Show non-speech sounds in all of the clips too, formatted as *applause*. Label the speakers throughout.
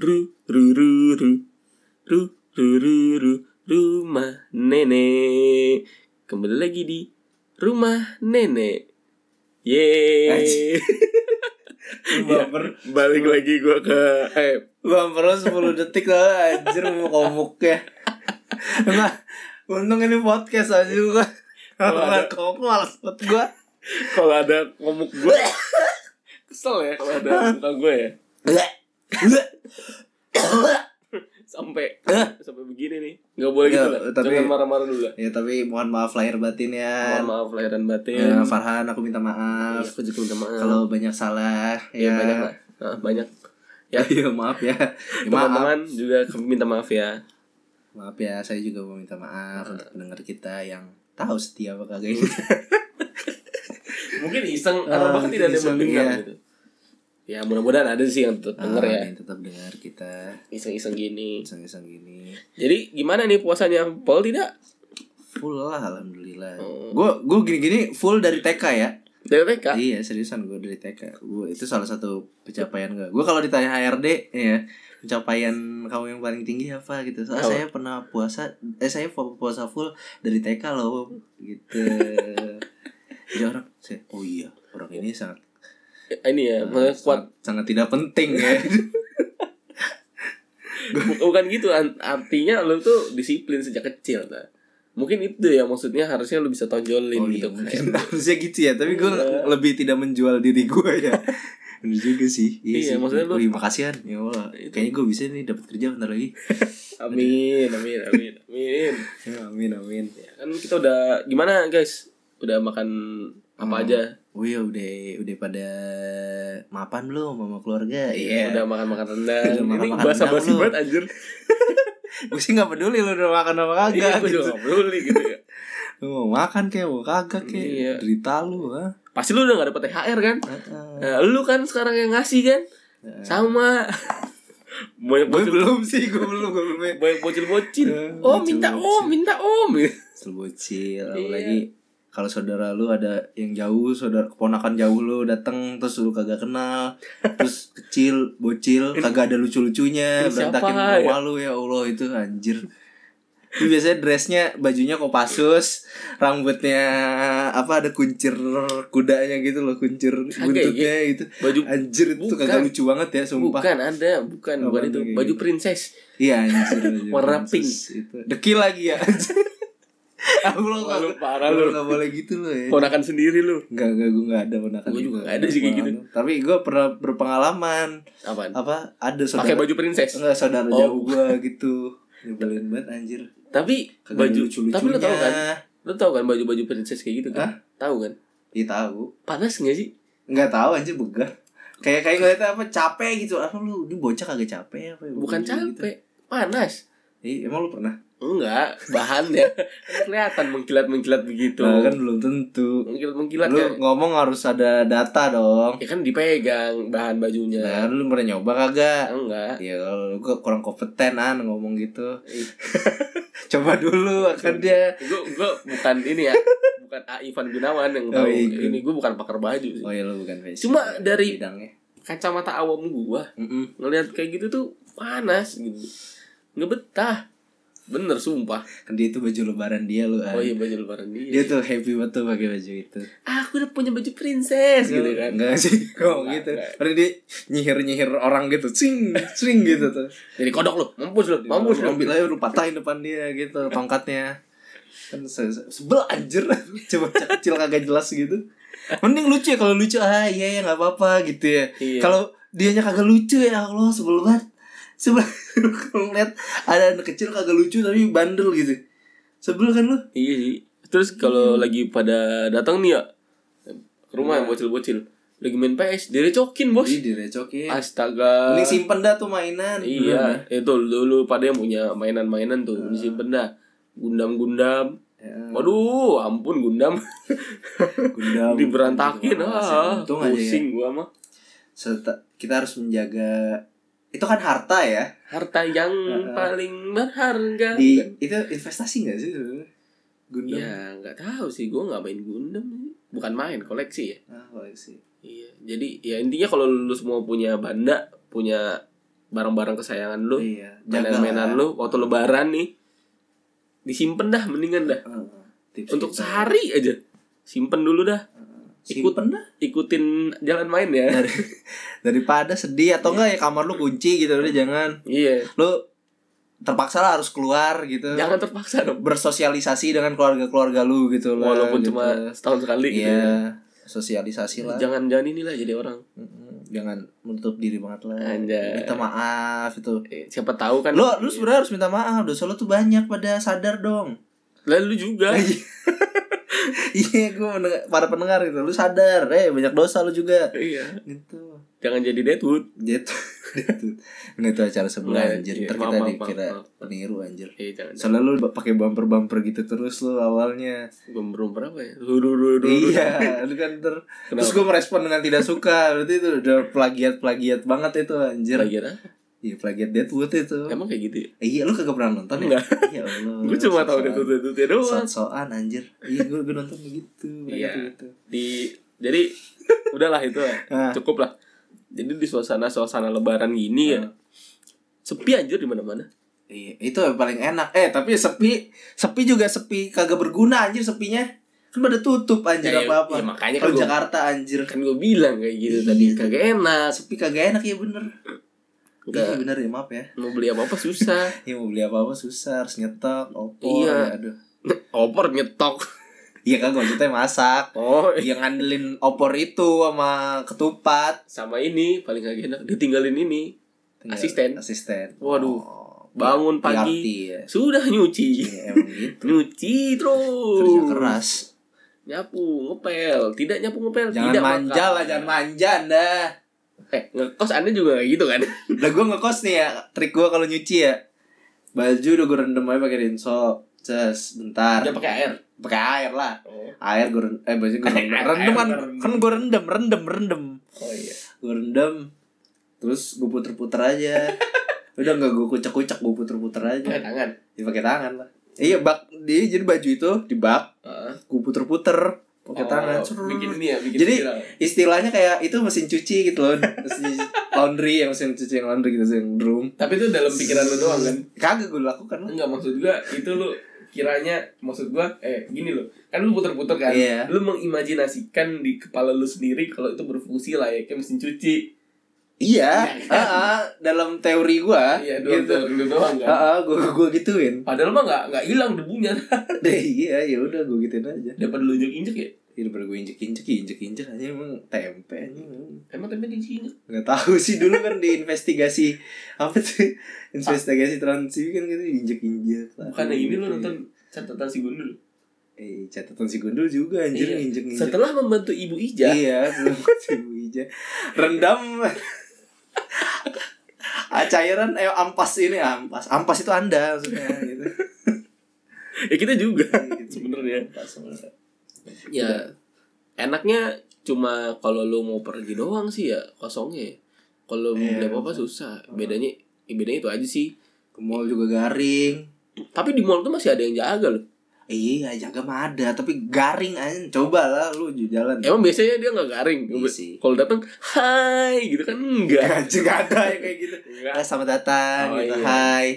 Speaker 1: ru ru ru ru ru ru ru ru rumah nenek kembali lagi di rumah nenek yeay *laughs* Iya,
Speaker 2: Lu *laughs* Bumper
Speaker 1: balik lagi gua ke eh
Speaker 2: Bumper lu 10 detik lah Anjir mau komuk ya Nah Untung ini podcast aja juga
Speaker 1: Kalau
Speaker 2: Kalau
Speaker 1: ada-
Speaker 2: ada komuk malas buat gue
Speaker 1: kalau ada komuk gua *laughs* kesel ya kalau ada muka gue ya sampai sampai begini nih nggak boleh gitu
Speaker 2: Ya,
Speaker 1: lah
Speaker 2: tapi-
Speaker 1: jangan marah-marah dulu lah
Speaker 2: Ya tapi mohon maaf lahir batin ya
Speaker 1: mohon maaf lahir dan batin
Speaker 2: Ya, Farhan aku minta
Speaker 1: Iya,
Speaker 2: maaf
Speaker 1: aku juga minta maaf
Speaker 2: Kalau banyak salah
Speaker 1: ya,
Speaker 2: Ya,
Speaker 1: banyak
Speaker 2: *laughs*
Speaker 1: lah Ah, banyak Ya.
Speaker 2: ya. maaf ya, Ya, Maaf
Speaker 1: teman-teman juga kami minta maaf ya
Speaker 2: Maaf ya saya juga mau minta maaf Untuk pendengar kita yang tahu setia apa kagak ini
Speaker 1: mungkin iseng
Speaker 2: Ah,
Speaker 1: atau bahkan
Speaker 2: mungkin
Speaker 1: tidak ada yang
Speaker 2: iseng,
Speaker 1: mendengar
Speaker 2: iya.
Speaker 1: gitu ya mudah-mudahan ada sih yang tetap denger ya
Speaker 2: Ah, yang Tetap dengar kita
Speaker 1: iseng-iseng gini
Speaker 2: Iseng-iseng gini
Speaker 1: jadi gimana nih puasanya Paul tidak
Speaker 2: Full lah alhamdulillah.
Speaker 1: Oh.
Speaker 2: Gue gue gini-gini full dari TK ya.
Speaker 1: dari mereka
Speaker 2: Iya seriusan gue dari TK. Gue itu salah satu pencapaian gue. Gue kalau ditanya HRD ya pencapaian kamu yang paling tinggi apa gitu. Soalnya
Speaker 1: Apa?
Speaker 2: saya pernah puasa eh saya pu- puasa full dari TK loh
Speaker 1: *laughs*
Speaker 2: gitu. Jadi orang saya, oh iya orang ini sangat
Speaker 1: ini ya
Speaker 2: Ah,
Speaker 1: maksudnya kuat
Speaker 2: sangat, sangat tidak penting ya.
Speaker 1: *laughs* Bu- *laughs* bukan gitu an- artinya lu tuh disiplin sejak kecil nah. mungkin itu ya maksudnya harusnya lu bisa tonjolin
Speaker 2: oh iya
Speaker 1: gitu
Speaker 2: mungkin *laughs* harusnya gitu ya. Tapi gue
Speaker 1: Iya.
Speaker 2: lebih tidak menjual diri gue ya. *laughs* Bener juga sih
Speaker 1: Iya,
Speaker 2: sih.
Speaker 1: maksudnya lu-
Speaker 2: Wih, makasih kan Ya Allah Kayaknya gue bisa nih dapat kerja bentar lagi
Speaker 1: *laughs* amin amin amin amin
Speaker 2: Ya, *laughs* amin amin.
Speaker 1: ya, kan kita udah gimana guys udah makan apa
Speaker 2: Hmm.
Speaker 1: aja
Speaker 2: Oh iya udah udah pada mapan belum sama keluarga? Iya. *laughs*
Speaker 1: udah makan makan rendang
Speaker 2: Udah
Speaker 1: ini
Speaker 2: makan-makan
Speaker 1: bahasa basi
Speaker 2: rendang lu.
Speaker 1: banget anjir
Speaker 2: Gue sih nggak peduli lu udah makan apa
Speaker 1: iya gue
Speaker 2: kagak. gitu.
Speaker 1: juga nggak peduli gitu ya
Speaker 2: Lu mau makan kayak mau kagak kayak
Speaker 1: Iya.
Speaker 2: derita lu ha.
Speaker 1: pasti lu udah gak dapet thr kan nah,
Speaker 2: Heeh.
Speaker 1: lu kan sekarang yang ngasih kan
Speaker 2: Eh.
Speaker 1: sama banyak
Speaker 2: Gue
Speaker 1: bocil
Speaker 2: belum sih, gue belum, gue belum.
Speaker 1: banyak bocil bocil
Speaker 2: Eh,
Speaker 1: oh minta
Speaker 2: bocil-bocil.
Speaker 1: om minta om
Speaker 2: Sel bocil,
Speaker 1: Iya.
Speaker 2: apalagi kalau saudara lu ada yang jauh, saudara keponakan jauh lu datang terus lu kagak
Speaker 1: *laughs*
Speaker 2: kenal, terus kecil, bocil, kagak ada lucu-lucunya,
Speaker 1: ini siapa,
Speaker 2: berantakin
Speaker 1: ya?
Speaker 2: rumah lu ya Allah itu anjir. Lu biasanya dressnya bajunya Kopassus, rambutnya apa ada kuncir kudanya gitu loh, kuncir buntutnya gitu.
Speaker 1: baju
Speaker 2: Anjir
Speaker 1: ya?
Speaker 2: itu
Speaker 1: Bukan.
Speaker 2: kagak lucu banget ya sumpah.
Speaker 1: bukan ada bukan
Speaker 2: Apaan
Speaker 1: bukan
Speaker 2: tuh
Speaker 1: itu
Speaker 2: kayak
Speaker 1: baju
Speaker 2: gitu?
Speaker 1: princess
Speaker 2: Iya anjir. anjir.
Speaker 1: *laughs* Warna
Speaker 2: Pansus Itu. Dekil lagi ya. *laughs* Aku lo
Speaker 1: Wah, lu parah,
Speaker 2: lu
Speaker 1: lu.
Speaker 2: nggak boleh gitu lo ya.
Speaker 1: ponakan sendiri lu
Speaker 2: Enggak enggak gue enggak ada ponakan.
Speaker 1: Gua juga
Speaker 2: Gua
Speaker 1: nggak ada sih kayak gitu.
Speaker 2: ponakan. Tapi gue pernah berpengalaman
Speaker 1: apaan
Speaker 2: apa ada
Speaker 1: pakai
Speaker 2: saudara
Speaker 1: baju princess
Speaker 2: enggak saudara
Speaker 1: Oh.
Speaker 2: jauh gue gitu. Nyebelin banget anjir.
Speaker 1: tapi
Speaker 2: Kagak
Speaker 1: baju
Speaker 2: lucu-lucunya.
Speaker 1: tapi lu tahu kan lu tahu kan baju baju princess kayak gitu kan
Speaker 2: Hah?
Speaker 1: tahu kan
Speaker 2: Iya tahu.
Speaker 1: panas nggak sih
Speaker 2: Enggak tahu anjir begah. Kayak kayak ngeliatnya apa capek gitu. Apa lu ini bocah kagak capek apa ya?
Speaker 1: bukan
Speaker 2: Gitu.
Speaker 1: capek panas
Speaker 2: Ih, emang lu pernah?
Speaker 1: enggak
Speaker 2: *laughs*
Speaker 1: bahannya Kan kelihatan mengkilat mengkilat begitu
Speaker 2: Nah, kan belum tentu.
Speaker 1: mengkilat mengkilat
Speaker 2: Lu
Speaker 1: kan
Speaker 2: ngomong harus ada data dong.
Speaker 1: ya kan dipegang bahan bajunya
Speaker 2: Nah, lu pernah nyoba kagak?
Speaker 1: enggak
Speaker 2: Ya, lu kok kurang kompeten an ngomong gitu.
Speaker 1: Ih.
Speaker 2: *laughs* Coba dulu akan dia.
Speaker 1: gue gue bukan ini ya bukan A Ivan Gunawan yang
Speaker 2: Oh,
Speaker 1: tahu
Speaker 2: iya.
Speaker 1: ini gue bukan pakar baju sih.
Speaker 2: Oh ya lu bukan fashion.
Speaker 1: Cuma dari-
Speaker 2: bidangnya.
Speaker 1: kacamata awam gue
Speaker 2: Mm-mm.
Speaker 1: ngelihat kayak gitu tuh panas gitu nggak betah bener sumpah
Speaker 2: Kan dia itu baju lebaran dia lu. An.
Speaker 1: oh iya baju lebaran
Speaker 2: Dia
Speaker 1: dia
Speaker 2: tuh happy banget tuh pakai baju itu.
Speaker 1: ah aku udah punya baju princess gitu kan
Speaker 2: Enggak sih, *laughs* kok
Speaker 1: Enggak,
Speaker 2: gitu.
Speaker 1: enggak.
Speaker 2: Padahal dia nyihir-nyihir orang gitu, cing, cing gitu tuh.
Speaker 1: jadi kodok lu mampus lu mampus
Speaker 2: Lu
Speaker 1: lu
Speaker 2: ambil aja lu patahin depan dia gitu tongkatnya kan se- se- sebel anjir *laughs* coba kecil kagak jelas gitu mending lucu ya kalau lucu ah iya ya nggak apa-apa gitu ya
Speaker 1: Iya.
Speaker 2: kalau dianya kagak lucu ya Allah sebel banget sebel *laughs* kalau ngeliat ada anak kecil kagak lucu tapi bandel gitu sebel kan lu
Speaker 1: iya sih terus kalau
Speaker 2: Hmm.
Speaker 1: lagi pada datang nih ya ke rumah yang
Speaker 2: Iya.
Speaker 1: bocil-bocil lagi main PS direcokin bos
Speaker 2: jadi direcokin
Speaker 1: astaga
Speaker 2: mending simpen dah tuh mainan
Speaker 1: Iya, itu dulu pada yang punya mainan-mainan tuh
Speaker 2: Ah.
Speaker 1: disimpen dah. Gundam-gundam.
Speaker 2: Ya,
Speaker 1: Waduh, ampun gundam.
Speaker 2: gundam
Speaker 1: *laughs* Diberantakin
Speaker 2: Gitu,
Speaker 1: ah.
Speaker 2: untung aja ya
Speaker 1: Pusing gua mah.
Speaker 2: Serta- kita harus menjaga itu kan harta ya
Speaker 1: Harta yang
Speaker 2: Heeh.
Speaker 1: paling berharga.
Speaker 2: Ah, di Hmm. itu investasi nggak sih sebenarnya gundam
Speaker 1: Ya, nggak tahu sih gua nggak main gundam sih. Bukan main, koleksi ya.
Speaker 2: ah koleksi
Speaker 1: Iya. Jadi ya intinya kalau lu semua punya banda, punya barang-barang kesayangan lu
Speaker 2: iya jagalah.
Speaker 1: mainan-mainan lu waktu lebaran nih disimpen dah mendingan dah
Speaker 2: Heeh, tips gitu.
Speaker 1: untuk
Speaker 2: kita.
Speaker 1: sehari aja simpen dulu dah
Speaker 2: simpen dah
Speaker 1: ikutin jalan main ya
Speaker 2: Dari, daripada sedih atau enggak ya kamar lu kunci gitu udah jangan
Speaker 1: *laughs* iya
Speaker 2: lu terpaksa lah harus keluar gitu
Speaker 1: jangan terpaksa dong
Speaker 2: bersosialisasi dengan keluarga-keluarga lu gitu lah
Speaker 1: walaupun
Speaker 2: gitu.
Speaker 1: cuma setahun sekali gitu ya.
Speaker 2: iya sosialisasi lah
Speaker 1: jangan jangan inilah jadi orang
Speaker 2: Mm-mm, jangan menutup diri banget lah
Speaker 1: Anjay.
Speaker 2: minta maaf itu
Speaker 1: Eh, siapa tahu kan
Speaker 2: lo lu sebenarnya harus minta maaf dosa lu tuh banyak pada sadar dong
Speaker 1: lalu juga
Speaker 2: iya gue para pendengar gitu lu sadar eh banyak dosa lu juga
Speaker 1: iya
Speaker 2: gitu
Speaker 1: jangan jadi Deadwood
Speaker 2: Jet Nah itu acara sebelah
Speaker 1: Enggak,
Speaker 2: anjir
Speaker 1: iya,
Speaker 2: Ntar
Speaker 1: maaf,
Speaker 2: kita
Speaker 1: maaf,
Speaker 2: dikira
Speaker 1: maaf,
Speaker 2: peniru anjir
Speaker 1: eh jangan
Speaker 2: Soalnya lu pakai bumper-bumper gitu terus lu awalnya
Speaker 1: belum berapa ya Duh, duh, duh, duh, duh.
Speaker 2: Iya lu kan ter
Speaker 1: Kenapa?
Speaker 2: Terus gue merespon dengan tidak suka Berarti itu udah plagiat-plagiat banget itu anjir
Speaker 1: lagi apa?
Speaker 2: Iya plagiat Deadwood itu
Speaker 1: emang kayak gitu ya?
Speaker 2: Eh, Iya lu kagak pernah nonton ya?
Speaker 1: Enggak.
Speaker 2: Iya Allah
Speaker 1: gue cuma tahu
Speaker 2: sok-sokan.
Speaker 1: Deadwood Deadwood ya doang
Speaker 2: Sok-sokan anjir Iya gue gue nonton begitu
Speaker 1: Iya.
Speaker 2: mereka tuh gitu.
Speaker 1: di
Speaker 2: *laughs*
Speaker 1: jadi udahlah itu lah.
Speaker 2: Ah.
Speaker 1: cukup lah jadi di suasana suasana lebaran gini
Speaker 2: Ah.
Speaker 1: ya sepi anjir di mana mana
Speaker 2: Iya, itu yang paling enak. Eh, tapi sepi, sepi juga sepi, kagak berguna anjir sepinya. Kan pada tutup anjir
Speaker 1: Ya, ya,
Speaker 2: apa-apa.
Speaker 1: ya, makanya
Speaker 2: Kalau
Speaker 1: kan gua-
Speaker 2: Jakarta anjir.
Speaker 1: kan gue bilang kayak gitu tadi
Speaker 2: Iya.
Speaker 1: kagak enak
Speaker 2: Sepi kagak enak ya bener. Iya
Speaker 1: Enggak.
Speaker 2: bener ya maaf ya.
Speaker 1: mau beli apa apa susah
Speaker 2: Ya mau beli apa-apa susah, harus nyetok, opor,
Speaker 1: Iya.
Speaker 2: ya, aduh.
Speaker 1: opor nyetok
Speaker 2: Iya kan maksudnya masak.
Speaker 1: oh
Speaker 2: Yang ngandelin opor itu sama ketupat.
Speaker 1: sama ini paling kagak enak ditinggalin ini
Speaker 2: Tinggal-
Speaker 1: Asisten.
Speaker 2: Asisten.
Speaker 1: Waduh.
Speaker 2: Oh,
Speaker 1: Bangun
Speaker 2: PRT
Speaker 1: pagi.
Speaker 2: ya.
Speaker 1: sudah nyuci
Speaker 2: Iya, emang gitu.
Speaker 1: nyuci
Speaker 2: Kerja
Speaker 1: terus
Speaker 2: keras.
Speaker 1: nyapu ngepel tidak nyapu ngepel
Speaker 2: Jangan
Speaker 1: tidak
Speaker 2: manja
Speaker 1: makan.
Speaker 2: lah, jangan manja dah.
Speaker 1: eh ngekos anda juga kayak gitu kan
Speaker 2: Lah gue ngekos nih ya Trik gue kalau nyuci ya Baju udah gue rendem aja pakai rinso Ces bentar
Speaker 1: jangan pakai air
Speaker 2: Pakai air lah
Speaker 1: oh,
Speaker 2: Air gue rendem Eh baju
Speaker 1: *laughs*
Speaker 2: gue rendem Rendem kan Kan gue rendem Rendem Rendem
Speaker 1: oh iya
Speaker 2: Gue rendem Terus gue puter-puter aja
Speaker 1: *laughs*
Speaker 2: Udah gak gue kucek-kucek Gue puter-puter aja
Speaker 1: pakai tangan
Speaker 2: Ya pakai tangan lah Iya bak di, Jadi baju itu di bak
Speaker 1: Heeh.
Speaker 2: Gue puter-puter Pakai
Speaker 1: Oh,
Speaker 2: tangan
Speaker 1: bikin ini ya bikin
Speaker 2: Jadi
Speaker 1: viral.
Speaker 2: istilahnya kayak itu mesin cuci gitu loh mesin laundry yang mesin cuci yang laundry gitu yang drum
Speaker 1: tapi itu dalam pikiran lu doang kan
Speaker 2: kagak gue lakukan Iya. lah
Speaker 1: enggak maksud gua itu lu kiranya maksud gua eh gini lo kan lu puter-puter kan
Speaker 2: Iya.
Speaker 1: lu mengimajinasikan di kepala lu sendiri kalau itu berfungsi lah ya kayak mesin cuci
Speaker 2: iya ah, ah, dalam teori gue
Speaker 1: iya doang
Speaker 2: gitu
Speaker 1: doang, doang kan
Speaker 2: gue gue gituin
Speaker 1: padahal mah nggak nggak hilang debunya
Speaker 2: deh iya ya udah gue gituin aja Iya,
Speaker 1: dapat lu injek injek ya
Speaker 2: ini baru gue injek injek injek injek aja emang tempe aja
Speaker 1: emang tapi di sini
Speaker 2: nggak tahu sih dulu kan diinvestigasi apa tuh investigasi transisi kan gitu injek injek
Speaker 1: bukan yang ini lu nonton catatan si gundul
Speaker 2: eh catatan si gundul juga anjir
Speaker 1: Iya.
Speaker 2: injek injek
Speaker 1: setelah membantu ibu Ija
Speaker 2: Iya,
Speaker 1: *laughs*
Speaker 2: sebelum si Bu Ija. Rendam Ah, cairan eh ampas ini ampas. Ampas itu Anda maksudnya gitu.
Speaker 1: ya kita juga
Speaker 2: Gitu.
Speaker 1: Sebenarnya.
Speaker 2: Ampas sebenarnya.
Speaker 1: ya enaknya cuma kalau lu mau pergi doang sih ya kosongnya kalau mau
Speaker 2: Iya.
Speaker 1: beli apa apa susah bedanya ya bedanya itu aja sih
Speaker 2: Ke mall juga garing.
Speaker 1: tapi di mall tuh masih ada yang jaga loh
Speaker 2: Iya, jaga mah ada, tapi garing aja. Coba lah lu jalan.
Speaker 1: emang biasanya dia nggak garing
Speaker 2: Iya sih.
Speaker 1: kalau datang hai gitu kan enggak
Speaker 2: Anjing ada yang kayak gitu.
Speaker 1: enggak
Speaker 2: Eh, selamat
Speaker 1: Oh,
Speaker 2: datang gitu.
Speaker 1: iya.
Speaker 2: Hai.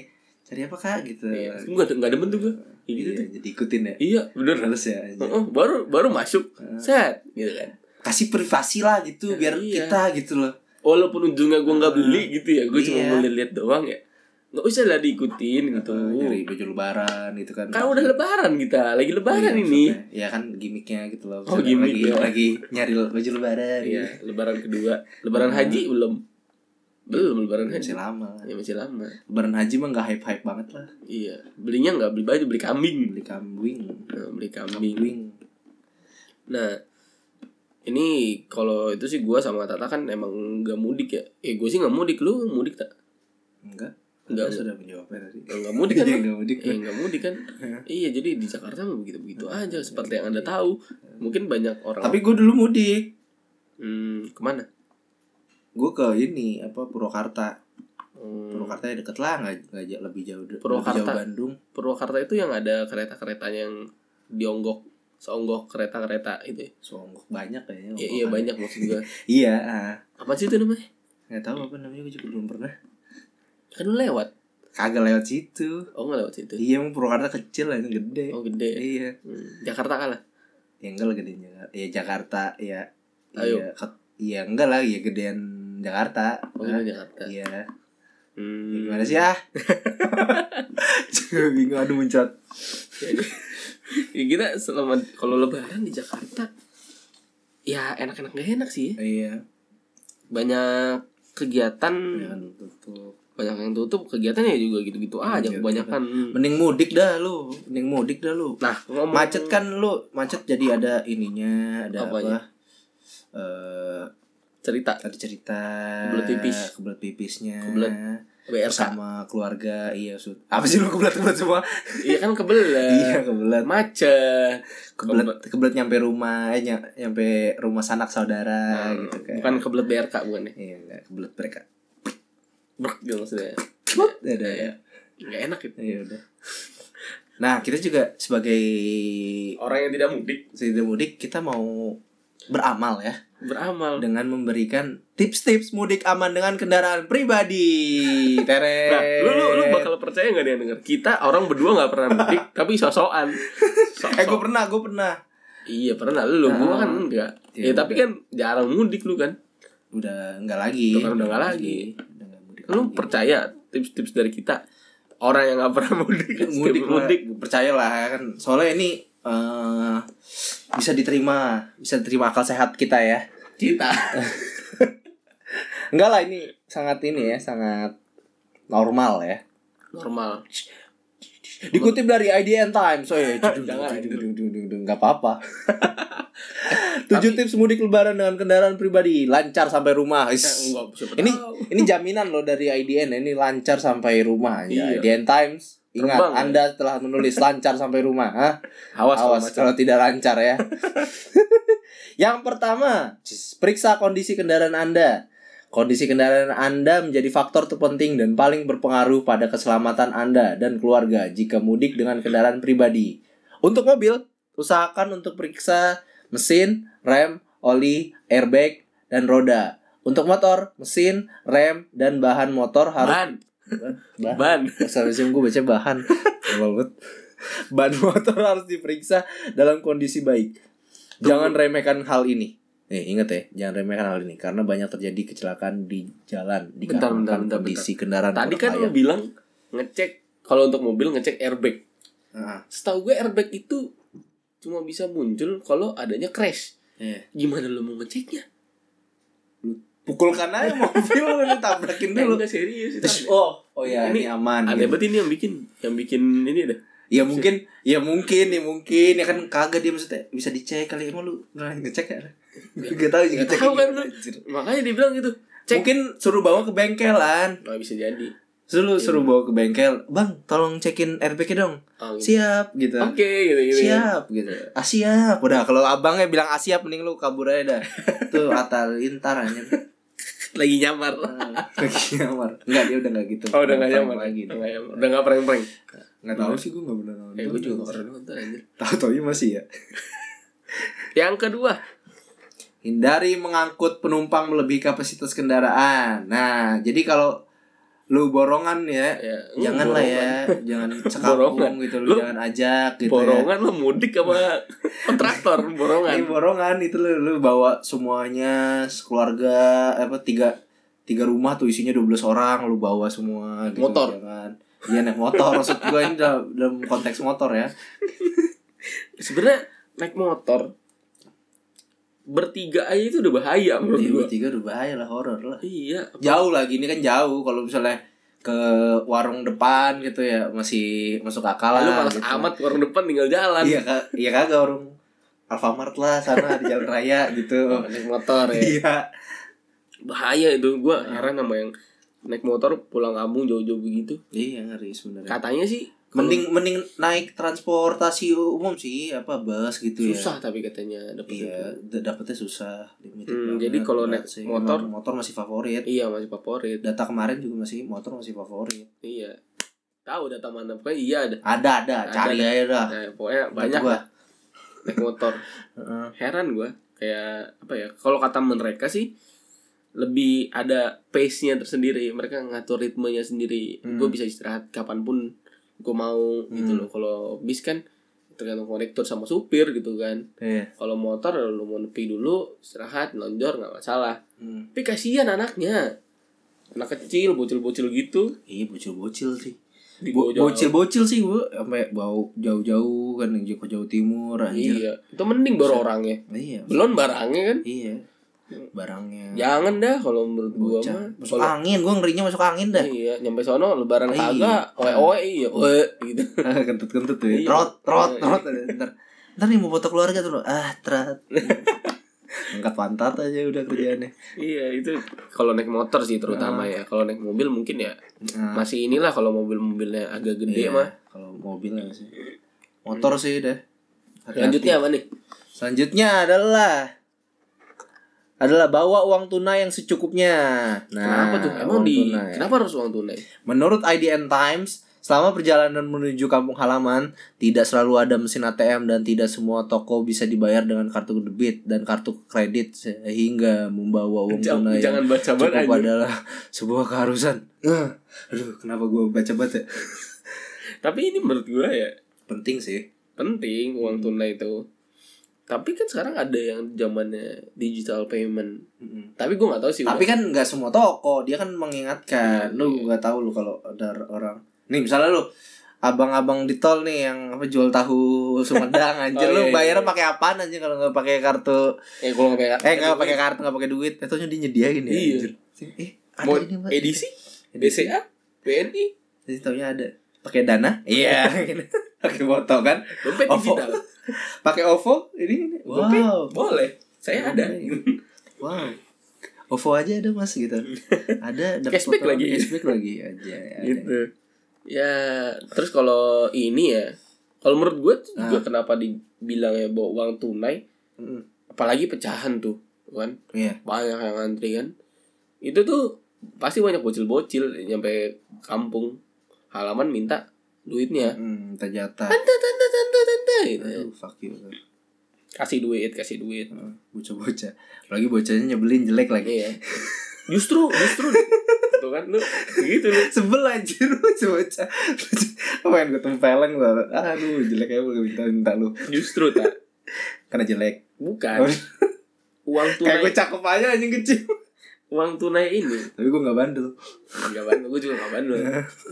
Speaker 2: Cari apa Kak gitu.
Speaker 1: Iya, enggak enggak demen tuh gue Kayak gitu
Speaker 2: Iya,
Speaker 1: tuh
Speaker 2: jadi ikutin ya.
Speaker 1: iya bener
Speaker 2: Terus ya. anjing.
Speaker 1: Heeh, baru baru masuk
Speaker 2: Heeh.
Speaker 1: set gitu kan
Speaker 2: Kasih privasi lah gitu biar
Speaker 1: Iya.
Speaker 2: kita gitu loh.
Speaker 1: walaupun ujungnya gue nggak beli gitu ya gue cuma
Speaker 2: Iya.
Speaker 1: mau lihat doang ya nggak usah lah diikutin gitu
Speaker 2: nyari baju lebaran gitu kan
Speaker 1: kan udah lebaran kita lagi lebaran
Speaker 2: Iya,
Speaker 1: ini
Speaker 2: maksudnya. ya kan gimmicknya gitu loh
Speaker 1: Oh,
Speaker 2: Misalnya
Speaker 1: gimmick
Speaker 2: lagi,
Speaker 1: ya.
Speaker 2: lagi nyari le- baju lebaran
Speaker 1: Iya, lebaran kedua. Lebaran haji belum. Belum lebaran
Speaker 2: gitu. masih
Speaker 1: haji.
Speaker 2: lama
Speaker 1: Ya masih lama.
Speaker 2: lebaran haji mah nggak hype hype banget lah
Speaker 1: Iya, belinya nggak beli baju, beli kambing.
Speaker 2: beli kambing
Speaker 1: Nah, beli kambing.
Speaker 2: kambing
Speaker 1: Nah, ini kalau itu sih gua sama Tata kan emang nggak mudik ya. Eh, gue sih nggak mudik lu mudik tak?
Speaker 2: enggak
Speaker 1: Enggak.
Speaker 2: enggak sudah menjawabnya tadi
Speaker 1: Ya, nggak mudik kan?
Speaker 2: *laughs* Iya,
Speaker 1: lu?
Speaker 2: nggak mudik
Speaker 1: Eh, nggak mudik kan? iya, jadi di Jakarta mah begitu-begitu aja. Seperti yang anda tahu, mungkin banyak orang.
Speaker 2: Iya, tapi gue dulu mudik
Speaker 1: hmm, kemana?
Speaker 2: gue ke ini apa Purwakarta
Speaker 1: Hmm,
Speaker 2: Purwakarta ya deket lah nggak nggak jauh- lebih jauh lebih
Speaker 1: Purwakarta.
Speaker 2: jauh Bandung
Speaker 1: Purwakarta itu yang ada kereta-keretanya yang dionggok, seonggok kereta-kereta itu. ya?
Speaker 2: Songgok banyak
Speaker 1: Iya,
Speaker 2: kayaknya
Speaker 1: iya
Speaker 2: Purwakarta.
Speaker 1: banyak maksud gua.
Speaker 2: iya ah.
Speaker 1: Apa sih itu namanya?
Speaker 2: nggak tahu apa namanya gue juga belum pernah
Speaker 1: Kan lu lewat.
Speaker 2: kagak lewat situ
Speaker 1: Oh, nggak lewat situ.
Speaker 2: iya emang Purwakarta kecil lah itu gede
Speaker 1: Oh, gede.
Speaker 2: iya
Speaker 1: Hmm. Jakarta kalah.
Speaker 2: ya enggak lah gedean Jakarta ya Jakarta ya
Speaker 1: Ayo.
Speaker 2: ya, ke- ya enggak lah ya gedean Jakarta
Speaker 1: Oh,
Speaker 2: Nah,
Speaker 1: gede Jakarta.
Speaker 2: iya Ya,
Speaker 1: Hmm.
Speaker 2: gimana sih *laughs* ah Cuma bingung aduh muncrat
Speaker 1: Jadi, ya kita selama kalau lebaran di Jakarta ya enak-enak gak enak sih.
Speaker 2: iya
Speaker 1: Banyak kegiatan
Speaker 2: ya kan tutup
Speaker 1: banyak yang tutup kegiatannya juga gitu-gitu aja
Speaker 2: Iya,
Speaker 1: kebanyakan.
Speaker 2: mending mudik dah lu mending mudik dah lu
Speaker 1: Nah, ngomong
Speaker 2: macet kan lu macet jadi ada ininya ada
Speaker 1: Apanya?
Speaker 2: apa Eh,
Speaker 1: cerita
Speaker 2: ada cerita
Speaker 1: Kebelet pipis.
Speaker 2: kebelet pipisnya
Speaker 1: Kebelet. WRK.
Speaker 2: sama keluarga iya sud apa sih lu kebelet kebelet semua
Speaker 1: Iya kan kebelet.
Speaker 2: iya kebelet
Speaker 1: Macet.
Speaker 2: kebelet kebelet nyampe rumah eh ny- nyampe rumah
Speaker 1: Nah,
Speaker 2: sanak saudara gitu kan
Speaker 1: Bukan kebelet BRK bukan ya.
Speaker 2: iya enggak kebelet mereka
Speaker 1: Brek gitu maksudnya.
Speaker 2: *laughs*
Speaker 1: Iya,
Speaker 2: ya udah ya
Speaker 1: Gak enak gitu.
Speaker 2: ya udah nah kita juga sebagai
Speaker 1: Orang yang tidak mudik
Speaker 2: tidak mudik kita mau beramal ya
Speaker 1: beramal.
Speaker 2: dengan memberikan tips-tips mudik aman dengan kendaraan pribadi.
Speaker 1: *laughs*
Speaker 2: Teret.
Speaker 1: Nah, lu, lu, lu bakal percaya gak dia denger? Kita orang berdua gak pernah mudik, *laughs* tapi sosokan. Sok-sok.
Speaker 2: Eh, gue pernah, gue pernah.
Speaker 1: Iya pernah lu,
Speaker 2: Nah.
Speaker 1: gua kan enggak. Ya,
Speaker 2: Iya,
Speaker 1: tapi kan jarang mudik lu kan.
Speaker 2: Udah enggak lagi.
Speaker 1: Udah nggak lagi.
Speaker 2: Udah nggak mudik.
Speaker 1: Lu
Speaker 2: lagi.
Speaker 1: percaya tips-tips dari kita? Orang yang gak pernah *laughs* mudik,
Speaker 2: mudik
Speaker 1: setiap
Speaker 2: mudik percayalah kan. Soalnya ini eh bisa diterima, bisa diterima akal sehat kita ya.
Speaker 1: kita.
Speaker 2: *laughs* Enggak lah ini sangat ini ya, sangat normal ya.
Speaker 1: Normal.
Speaker 2: Dikutip dari IDN Times, oh
Speaker 1: *laughs*
Speaker 2: iya,
Speaker 1: Jangan,
Speaker 2: nggak
Speaker 1: *laughs*
Speaker 2: apa-apa. *laughs* Tujuh tips mudik lebaran dengan kendaraan pribadi lancar sampai rumah. Is.
Speaker 1: Eh, enggak, siapa
Speaker 2: Ini
Speaker 1: tahu.
Speaker 2: ini jaminan loh dari IDN, ya, ini lancar sampai rumah. Ya,
Speaker 1: Iya.
Speaker 2: IDN Times, ingat
Speaker 1: Terbang, ya.
Speaker 2: Anda telah menulis lancar sampai rumah. Hah?
Speaker 1: Awas,
Speaker 2: Awas
Speaker 1: kalau macam.
Speaker 2: kalau tidak lancar ya. *laughs* Yang pertama, cis, periksa kondisi kendaraan Anda. Kondisi kendaraan Anda menjadi faktor terpenting dan paling berpengaruh pada keselamatan Anda dan keluarga jika mudik dengan kendaraan pribadi. Untuk mobil, usahakan untuk periksa mesin, rem, oli, airbag, dan roda. Untuk motor, mesin, rem, dan bahan motor harus
Speaker 1: Ban,
Speaker 2: Bahan.
Speaker 1: ban.
Speaker 2: Bahasa Indonesia gue baca bahan Tolol banget. Ban motor harus diperiksa dalam kondisi baik Jangan remehkan hal ini Eh ingat ya Jangan remehkan hal ini Karena banyak terjadi kecelakaan di jalan
Speaker 1: Bentar,
Speaker 2: Dikarenakan
Speaker 1: bentar, bentar,
Speaker 2: kondisi kendaraan
Speaker 1: Tadi
Speaker 2: kurang
Speaker 1: kan lu
Speaker 2: layak.
Speaker 1: bilang ngecek kalau untuk mobil ngecek airbag.
Speaker 2: Heeh.
Speaker 1: Setahu gue airbag itu cuma bisa muncul kalau adanya crash.
Speaker 2: Iya.
Speaker 1: Gimana lu mau ngeceknya?
Speaker 2: Pukulkan aja mobil Lu tabrakin
Speaker 1: Eh,
Speaker 2: dulu
Speaker 1: enggak serius. itu
Speaker 2: Terus, Oh oh ya ini,
Speaker 1: Ini
Speaker 2: aman
Speaker 1: Aneh
Speaker 2: gitu.
Speaker 1: banget ini yang bikin Yang bikin ini dah
Speaker 2: Ya mungkin Ya mungkin Ya mungkin Ya kan kagak dia maksudnya Bisa dicek kali Emang lu pernah ngecek ya Gak tau juga
Speaker 1: Gak tau kan
Speaker 2: gimana,
Speaker 1: lu.
Speaker 2: anjir.
Speaker 1: Makanya dibilang gitu Cek
Speaker 2: Mungkin suruh bawa ke bengkelan
Speaker 1: Gak bisa jadi
Speaker 2: Suruh
Speaker 1: Iya.
Speaker 2: suruh bawa ke bengkel, bang, tolong cekin airbag-nya dong.
Speaker 1: Oh, gitu.
Speaker 2: Siap gitu.
Speaker 1: Oke Iya. gitu-gitu
Speaker 2: Siap gitu. Ah siap. Udah kalau abangnya bilang ah siap mending lu kabur
Speaker 1: *laughs*
Speaker 2: aja dah. Tuh atal intar anjir.
Speaker 1: Lagi nyamar
Speaker 2: Ah, Lagi nyamar. Enggak dia udah enggak gitu.
Speaker 1: Oh udah gak
Speaker 2: Prank
Speaker 1: nyamar
Speaker 2: lagi.
Speaker 1: lagi Udah gak nyamar. Udah gak prank-prank
Speaker 2: Enggak tahu sih gue enggak pernah nonton.
Speaker 1: Eh gue juga gak pernah nonton anjir
Speaker 2: Tahu tahu masih ya.
Speaker 1: Yang kedua
Speaker 2: Hindari mengangkut penumpang melebihi kapasitas kendaraan. Nah, jadi kalau lu borongan ya,
Speaker 1: Ya, lu
Speaker 2: jangan lah ya, jangan cekapung
Speaker 1: Borongan.
Speaker 2: gitu, lu,
Speaker 1: Lu
Speaker 2: jangan ajak gitu ya.
Speaker 1: Borongan lah mudik
Speaker 2: *laughs*
Speaker 1: sama Kontraktor
Speaker 2: Ini
Speaker 1: borongan
Speaker 2: borongan itu lu, lu bawa semuanya sekeluarga apa tiga tiga rumah tuh isinya 12 orang lu bawa semua gitu,
Speaker 1: Motor.
Speaker 2: jangan. Iya naik motor maksud gue ini dalam, dalam konteks motor ya.
Speaker 1: Sebenernya naik motor Bertiga aja itu udah bahaya menurut
Speaker 2: Tiga
Speaker 1: gue
Speaker 2: tiga udah bahaya lah horor lah.
Speaker 1: Iya
Speaker 2: Jauh lagi ini kan jauh kalau misalnya ke warung depan gitu ya masih masuk akal
Speaker 1: Lu
Speaker 2: lah.
Speaker 1: malas
Speaker 2: gitu.
Speaker 1: amat kan? orang depan tinggal jalan
Speaker 2: Iya kak, iya kagak warung Alfamart lah sana di jalan raya
Speaker 1: Oh,
Speaker 2: gitu.
Speaker 1: Naik motor ya
Speaker 2: Iya.
Speaker 1: bahaya itu gua heran sama yang naik motor pulang kampung jauh-jauh begitu
Speaker 2: Iya ngeri sebenarnya.
Speaker 1: katanya sih kalau
Speaker 2: mending mending naik transportasi umum sih apa bus gitu
Speaker 1: susah tapi katanya
Speaker 2: ya
Speaker 1: dapet
Speaker 2: iya
Speaker 1: itu.
Speaker 2: d- dapetnya susah limited
Speaker 1: Hmm,
Speaker 2: banget,
Speaker 1: jadi kalau
Speaker 2: berat
Speaker 1: naik
Speaker 2: sih.
Speaker 1: motor-
Speaker 2: Emang motor masih favorit
Speaker 1: iya masih favorit
Speaker 2: data kemarin juga masih motor masih favorit
Speaker 1: iya tahu data mana pokoknya iya ada
Speaker 2: ada ada,
Speaker 1: Ada,
Speaker 2: cari
Speaker 1: ada.
Speaker 2: aja dah
Speaker 1: nah, pokoknya
Speaker 2: Menurut
Speaker 1: banyak
Speaker 2: gua.
Speaker 1: lah naik motor
Speaker 2: Heeh.
Speaker 1: heran gua kayak apa ya kalau kata mereka sih lebih ada pace-nya tersendiri mereka ngatur ritmenya sendiri
Speaker 2: Hmm.
Speaker 1: gue bisa istirahat kapanpun gue mau gitu
Speaker 2: Hmm.
Speaker 1: loh kalau bis kan tergantung konektor sama supir gitu kan
Speaker 2: Iya.
Speaker 1: kalau motor lu mau nepi dulu istirahat lonjor nggak masalah tapi kasihan anaknya anak kecil bocil-bocil gitu
Speaker 2: Iya bocil-bocil sih.
Speaker 1: dibawa
Speaker 2: Bo-
Speaker 1: jauh.
Speaker 2: Bocil-bocil sih gua sampai bau jauh-jauh kan yang Joko Jauh Timur anjir.
Speaker 1: iya itu mending baru orangnya
Speaker 2: Iya.
Speaker 1: belum barangnya kan
Speaker 2: Iya. Barangnya.
Speaker 1: jangan dah kalau menurut gua
Speaker 2: Bocah.
Speaker 1: mah
Speaker 2: Masuk
Speaker 1: kalau
Speaker 2: angin, gua ngerinya masuk angin dah.
Speaker 1: iya nyampe sono lebaran
Speaker 2: Nah. Iya.
Speaker 1: kagak oe oe iya oe gitu
Speaker 2: *laughs* Kentut-kentut tuh. ya.
Speaker 1: Iya.
Speaker 2: Trot, trot,
Speaker 1: Iya.
Speaker 2: trot. Ntar, ntar nih mau foto keluarga tuh lo. Ah, trot. *laughs* Angkat pantat aja udah kerjaannya.
Speaker 1: iya itu kalau naik motor sih terutama ya kalau naik mobil mungkin ya
Speaker 2: Nah,
Speaker 1: masih inilah kalau mobil-mobilnya agak gede
Speaker 2: iya.
Speaker 1: mah
Speaker 2: Kalau mobil apa sih. Motor sih deh.
Speaker 1: lanjutnya apa nih
Speaker 2: Selanjutnya adalah adalah bawa uang tunai yang secukupnya.
Speaker 1: kenapa tuh emang
Speaker 2: Nah, uang
Speaker 1: di
Speaker 2: tunai.
Speaker 1: kenapa harus uang tunai
Speaker 2: Menurut IDN Times, selama perjalanan menuju kampung halaman, tidak selalu ada mesin ATM dan tidak semua toko bisa dibayar dengan kartu debit dan kartu kredit sehingga membawa uang
Speaker 1: Jangan-
Speaker 2: tunai.
Speaker 1: jangan baca
Speaker 2: yang
Speaker 1: banget
Speaker 2: cukup
Speaker 1: aja.
Speaker 2: adalah sebuah keharusan. Eh, Aduh, kenapa gue baca banget ya?
Speaker 1: tapi ini menurut gua ya
Speaker 2: Penting sih.
Speaker 1: penting uang
Speaker 2: Hmm.
Speaker 1: tunai itu tapi kan sekarang ada yang zamannya digital payment tapi gua nggak tahu sih
Speaker 2: Tapi kan nggak semua toko, dia kan mengingatkan.
Speaker 1: Iya,
Speaker 2: Lu nggak tahu lu kalau ada orang. Nih misalnya lu abang-abang di tol nih yang apa jual tahu Sumedang *laughs* anjir
Speaker 1: Oh, iya,
Speaker 2: lu
Speaker 1: iya,
Speaker 2: bayarnya
Speaker 1: iya.
Speaker 2: pakai apaan anjir kalau nggak pakai kartu
Speaker 1: eh kalau nggak pakai
Speaker 2: eh nggak pakai kartu nggak pakai duit Tentunya dia nyediain ya
Speaker 1: Iya.
Speaker 2: anjir eh ada
Speaker 1: mau
Speaker 2: ini Mbak.
Speaker 1: edisi
Speaker 2: Edisi.
Speaker 1: BCA BNI
Speaker 2: jadi taunya ada pakai dana iya *laughs* pakai foto kan
Speaker 1: dompet
Speaker 2: OVO
Speaker 1: digital
Speaker 2: *laughs* pakai OVO ini
Speaker 1: Dompet,
Speaker 2: wow
Speaker 1: boleh saya ada
Speaker 2: Iya, Wow. OVO aja ada mas
Speaker 1: *laughs*
Speaker 2: gitu. Ada dapat
Speaker 1: Cashback
Speaker 2: potongan
Speaker 1: lagi.
Speaker 2: Cashback lagi
Speaker 1: *laughs*
Speaker 2: aja. Ya,
Speaker 1: gitu ya terus kalau ini ya kalau menurut gue tuh juga
Speaker 2: Ah.
Speaker 1: kenapa dibilang ya bawa uang tunai
Speaker 2: Mm,
Speaker 1: apalagi pecahan tuh kan
Speaker 2: Iya.
Speaker 1: banyak yang antri kan itu tuh pasti banyak bocil-bocil nyampe kampung halaman minta duitnya
Speaker 2: Hmm, minta jatah.
Speaker 1: tante tante tante tante gitu.
Speaker 2: Aduh, fuck you.
Speaker 1: kasih duit kasih duit
Speaker 2: Heeh, Bocah-bocah. Apalagi bocahnya nyebelin jelek lagi. *laughs*
Speaker 1: iya justru justru tuh kan lu begitu lu
Speaker 2: Sebel anjir bocah-bocah. *laughs* Oh, Main gue tempeleng lu. Aduh, jelek aja gue minta-minta lu.
Speaker 1: justru tak
Speaker 2: Karena jelek.
Speaker 1: bukan uang
Speaker 2: Kayak
Speaker 1: tunai
Speaker 2: gue cakep aja anjing
Speaker 1: *laughs*
Speaker 2: kecil.
Speaker 1: uang tunai ini
Speaker 2: Tapi gue gak bandel.
Speaker 1: Enggak bandel, gue juga enggak bandel.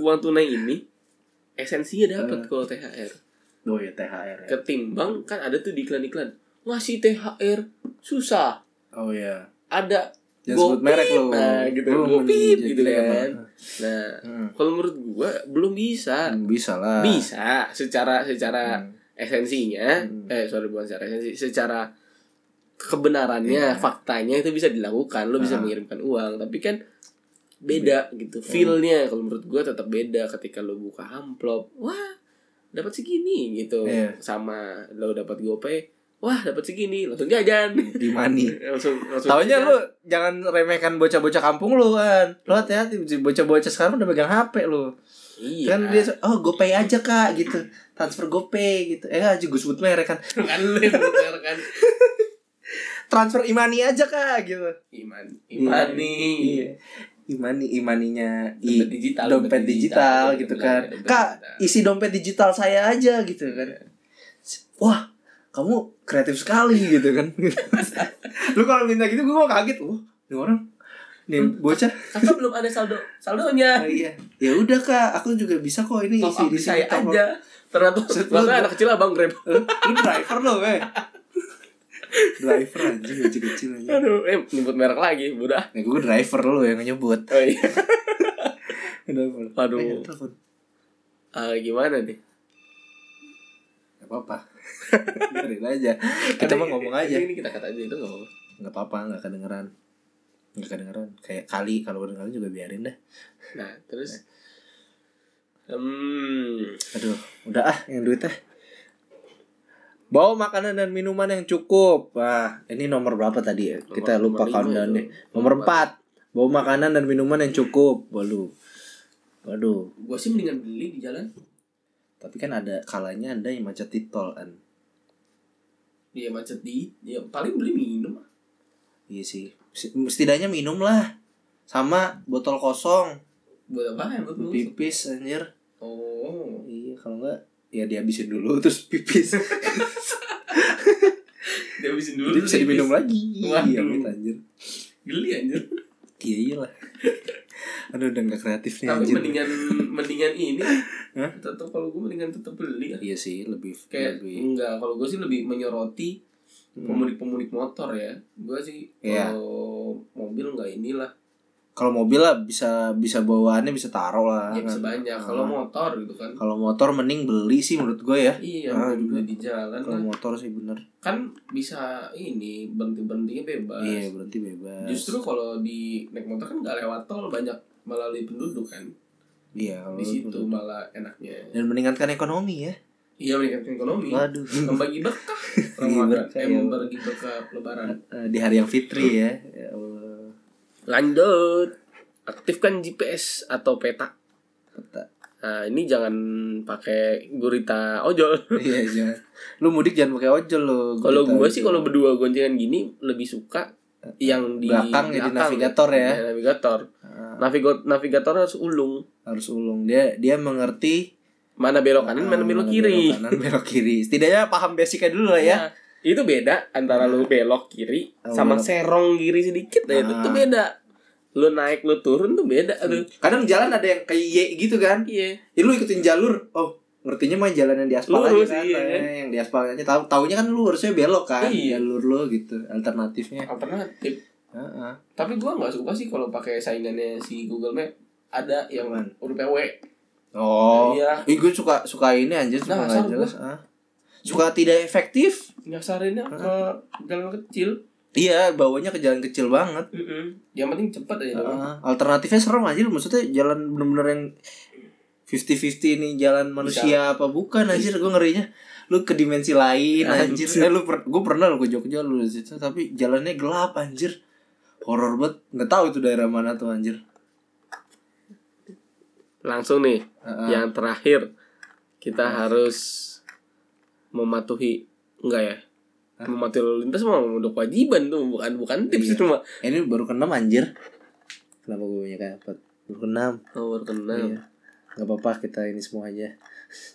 Speaker 1: Uang tunai ini esensinya dapat
Speaker 2: Eh.
Speaker 1: kalau THR.
Speaker 2: Oh
Speaker 1: iya,
Speaker 2: ya THR. ya.
Speaker 1: Ketimbang kan ada tuh di iklan-iklan, ngasih THR susah.
Speaker 2: Oh ya.
Speaker 1: Ada
Speaker 2: Jangan sebut
Speaker 1: Gopip.
Speaker 2: merek lu.
Speaker 1: Nah, gitu.
Speaker 2: Lu
Speaker 1: Gopip
Speaker 2: menjadi-
Speaker 1: gitu kan. Nah,
Speaker 2: Heeh.
Speaker 1: kalau menurut gua belum bisa.
Speaker 2: Hmm, Bisa lah.
Speaker 1: Bisa secara secara
Speaker 2: Hmm.
Speaker 1: esensinya,
Speaker 2: Hmm.
Speaker 1: eh sorry bukan secara esensi, secara kebenarannya,
Speaker 2: Iya.
Speaker 1: faktanya itu bisa dilakukan. Lo bisa
Speaker 2: Ah. Hmm.
Speaker 1: mengirimkan uang, tapi kan beda gitu feelnya kalau menurut gue tetap beda ketika lo buka amplop wah dapat segini gitu
Speaker 2: Iya.
Speaker 1: sama lo dapat gopay wah dapat segini langsung jajan *laughs*
Speaker 2: Di money.
Speaker 1: langsung langsung
Speaker 2: Taunya
Speaker 1: jajan.
Speaker 2: lu jangan remehkan bocah-bocah kampung lu kan. Lu hati-hati bocah-bocah sekarang udah pegang HP lu.
Speaker 1: iya
Speaker 2: Kan dia oh GoPay aja Kak gitu. Transfer GoPay gitu. Eh aja gue sebut merek kan.
Speaker 1: *laughs* kan lu yang bener kan
Speaker 2: Transfer Imani aja Kak gitu.
Speaker 1: iman iman nih
Speaker 2: Iya. Imani imaninya i
Speaker 1: Dompet digital,
Speaker 2: dompet
Speaker 1: dompet
Speaker 2: digital,
Speaker 1: digital,
Speaker 2: gitu
Speaker 1: bener,
Speaker 2: kan.
Speaker 1: dompet
Speaker 2: Kak,
Speaker 1: digital."
Speaker 2: isi dompet digital saya aja gitu
Speaker 1: Iya
Speaker 2: kan. Wah, kamu kreatif sekali gitu kan. *laughs* lu kalau minta gitu gue mau kaget. Wah, ini orang nih bocah *laughs*
Speaker 1: kakak belum ada saldo saldonya
Speaker 2: Oh, iya. Ya udah kak, aku juga bisa ya, kok ini
Speaker 1: top
Speaker 2: isi
Speaker 1: up
Speaker 2: Iya di
Speaker 1: saya
Speaker 2: sini top up.
Speaker 1: aja ternyata
Speaker 2: Set lu-
Speaker 1: bahkan anak kecil abang grab
Speaker 2: Lu, lu driver lo, weh. driver anjing kecil kecil aja.
Speaker 1: aduh eh nyebut merek lagi udah
Speaker 2: Nah, gue driver lo yang nyebut.
Speaker 1: oh, iya.
Speaker 2: Driver.
Speaker 1: Aduh.
Speaker 2: Eh, telepon.
Speaker 1: Ah, gimana nih
Speaker 2: Gak *laughs* apa-apa. Biarin aja. Kita mah
Speaker 1: Ini-
Speaker 2: ngomong
Speaker 1: ini-
Speaker 2: aja.
Speaker 1: ini kita kata aja itu nggak apa-apa
Speaker 2: Gak apa-apa, gak kedengeran. Gak kedengeran. Kayak kali kalau kedengeran juga biarin dah.
Speaker 1: Nah, terus hmm,
Speaker 2: Aduh, udah ah yang duitnya. Bawa makanan dan minuman yang cukup. Wah, ini nomor berapa tadi ya? Kita
Speaker 1: Nomor-
Speaker 2: lupa
Speaker 1: nomor lima
Speaker 2: countdownnya.
Speaker 1: itu.
Speaker 2: Nomor 4. Bawa makanan dan minuman yang cukup. Waduh. Waduh.
Speaker 1: gua sih mendingan beli di jalan
Speaker 2: Tapi kan ada kalanya Anda yang macet di tol kan.
Speaker 1: dia macet di ya paling beli minum
Speaker 2: Iya sih. setidaknya minumlah sama botol kosong
Speaker 1: buat apa ya buat lu?
Speaker 2: pipis anjir
Speaker 1: oh
Speaker 2: iya kalau enggak ya dihabisin dulu *laughs* terus
Speaker 1: *laughs*
Speaker 2: pipis
Speaker 1: dia habisin dulu
Speaker 2: jadi bisa
Speaker 1: terus
Speaker 2: diminum
Speaker 1: habis.
Speaker 2: lagi
Speaker 1: Waduh.
Speaker 2: iya amit, anjir
Speaker 1: geli anjir
Speaker 2: iya iyalah *laughs* aduh udah nggak kreatif nih
Speaker 1: tapi
Speaker 2: Iya, anjir
Speaker 1: mendingan mendingan ini
Speaker 2: Hah?
Speaker 1: tetap kalau gue mendingan tetap beli
Speaker 2: iya sih lebih
Speaker 1: kayak
Speaker 2: lebih
Speaker 1: enggak kalau gue sih lebih menyoroti
Speaker 2: Hmm.
Speaker 1: pemudik-pemudik motor ya gue sih
Speaker 2: Iya.
Speaker 1: kalau mobil enggak inilah
Speaker 2: kalau mobil lah bisa bisa bawaannya bisa taruh lah
Speaker 1: ya bisa
Speaker 2: kan.
Speaker 1: banyak
Speaker 2: Ah.
Speaker 1: kalau motor gitu kan
Speaker 2: kalau motor mending beli sih menurut gue ya
Speaker 1: iya
Speaker 2: Ah,
Speaker 1: beli
Speaker 2: juga.
Speaker 1: di jalan
Speaker 2: kalau
Speaker 1: lah.
Speaker 2: motor sih bener
Speaker 1: kan bisa ini berhenti berhentinya bebas
Speaker 2: iya berarti bebas
Speaker 1: justru kalau di naik motor kan nggak lewat tol banyak melalui penduduk kan
Speaker 2: iya kalau
Speaker 1: di situ
Speaker 2: bener.
Speaker 1: malah enaknya
Speaker 2: dan meningkatkan ekonomi ya
Speaker 1: iya meningkatkan ekonomi
Speaker 2: waduh
Speaker 1: membagi berkah
Speaker 2: *laughs*
Speaker 1: Ramadan
Speaker 2: Membagi berkah,
Speaker 1: eh
Speaker 2: ya.
Speaker 1: membagi berkah lebaran
Speaker 2: Eh, di hari yang fitri ya, ya Allah.
Speaker 1: lanjut aktifkan GPS atau peta
Speaker 2: Peta.
Speaker 1: nah ini jangan pakai gurita ojol *laughs*
Speaker 2: iya jangan lu mudik jangan pakai ojol lo
Speaker 1: Kalau gue sih kalau berdua goncengan gini lebih suka yang di
Speaker 2: Eh, Belakang jadi navigator ya. Ah.
Speaker 1: Iya, navigator. Navigo- navigator harus ulung.
Speaker 2: harus ulung dia dia mengerti
Speaker 1: Mana belok kanan, mana belok kiri.
Speaker 2: Ah, belok Oh, kanan belok kiri setidaknya paham basicnya dulu lah ya
Speaker 1: Nah, Itu beda antara lu belok kiri
Speaker 2: Ah. Oh,
Speaker 1: sama
Speaker 2: belok.
Speaker 1: serong kiri sedikit ya, itu
Speaker 2: Ah. Hmm.
Speaker 1: tuh beda. Lu naik lu turun tuh beda tuh.
Speaker 2: kadang jalan ada yang kayak Y gitu kan
Speaker 1: Iya.
Speaker 2: ya lu ikutin jalur oh ngertinya mah jalan yang di aspal
Speaker 1: Lurus,
Speaker 2: aja kan
Speaker 1: iya.
Speaker 2: eh, yang di aspal aja tahu taunya kan lu harusnya belok kan
Speaker 1: Iya.
Speaker 2: jalur lu gitu alternatifnya
Speaker 1: Alternatif.
Speaker 2: Heeh.
Speaker 1: Tapi gua nggak suka sih kalau pakai saingannya si Google Map ada yang
Speaker 2: Apaan?
Speaker 1: hurufnya W.
Speaker 2: oh
Speaker 1: Iya.
Speaker 2: Ih, gue suka suka ini anjir suka
Speaker 1: Nah,
Speaker 2: nggak
Speaker 1: asal
Speaker 2: jelas ah. suka tidak efektif
Speaker 1: Nyasarinnya ke jalan kecil.
Speaker 2: iya bawanya ke jalan kecil banget
Speaker 1: Mm-mm. Yang penting cepat aja dong.
Speaker 2: Heeh. alternatifnya serem anjir maksudnya jalan bener-bener yang 50-50 ini jalan manusia apa bukan anjir gue ngerinya lu ke dimensi lain anjir,
Speaker 1: Anjir.
Speaker 2: Eh, lu per- gue pernah lu ke Jogja lu di situ tapi jalannya gelap anjir horor banget nggak tahu itu daerah mana tuh anjir
Speaker 1: Langsung nih
Speaker 2: Heeh.
Speaker 1: yang terakhir kita harus mematuhi enggak ya mematuhi lalu lintas mah udah kewajiban tuh bukan bukan tips
Speaker 2: Iya.
Speaker 1: itu mah
Speaker 2: Eh, ini baru keenam anjir kenapa gue banyak apa baru keenam
Speaker 1: oh, baru kenal
Speaker 2: Iya. nggak apa-apa kita ini semua aja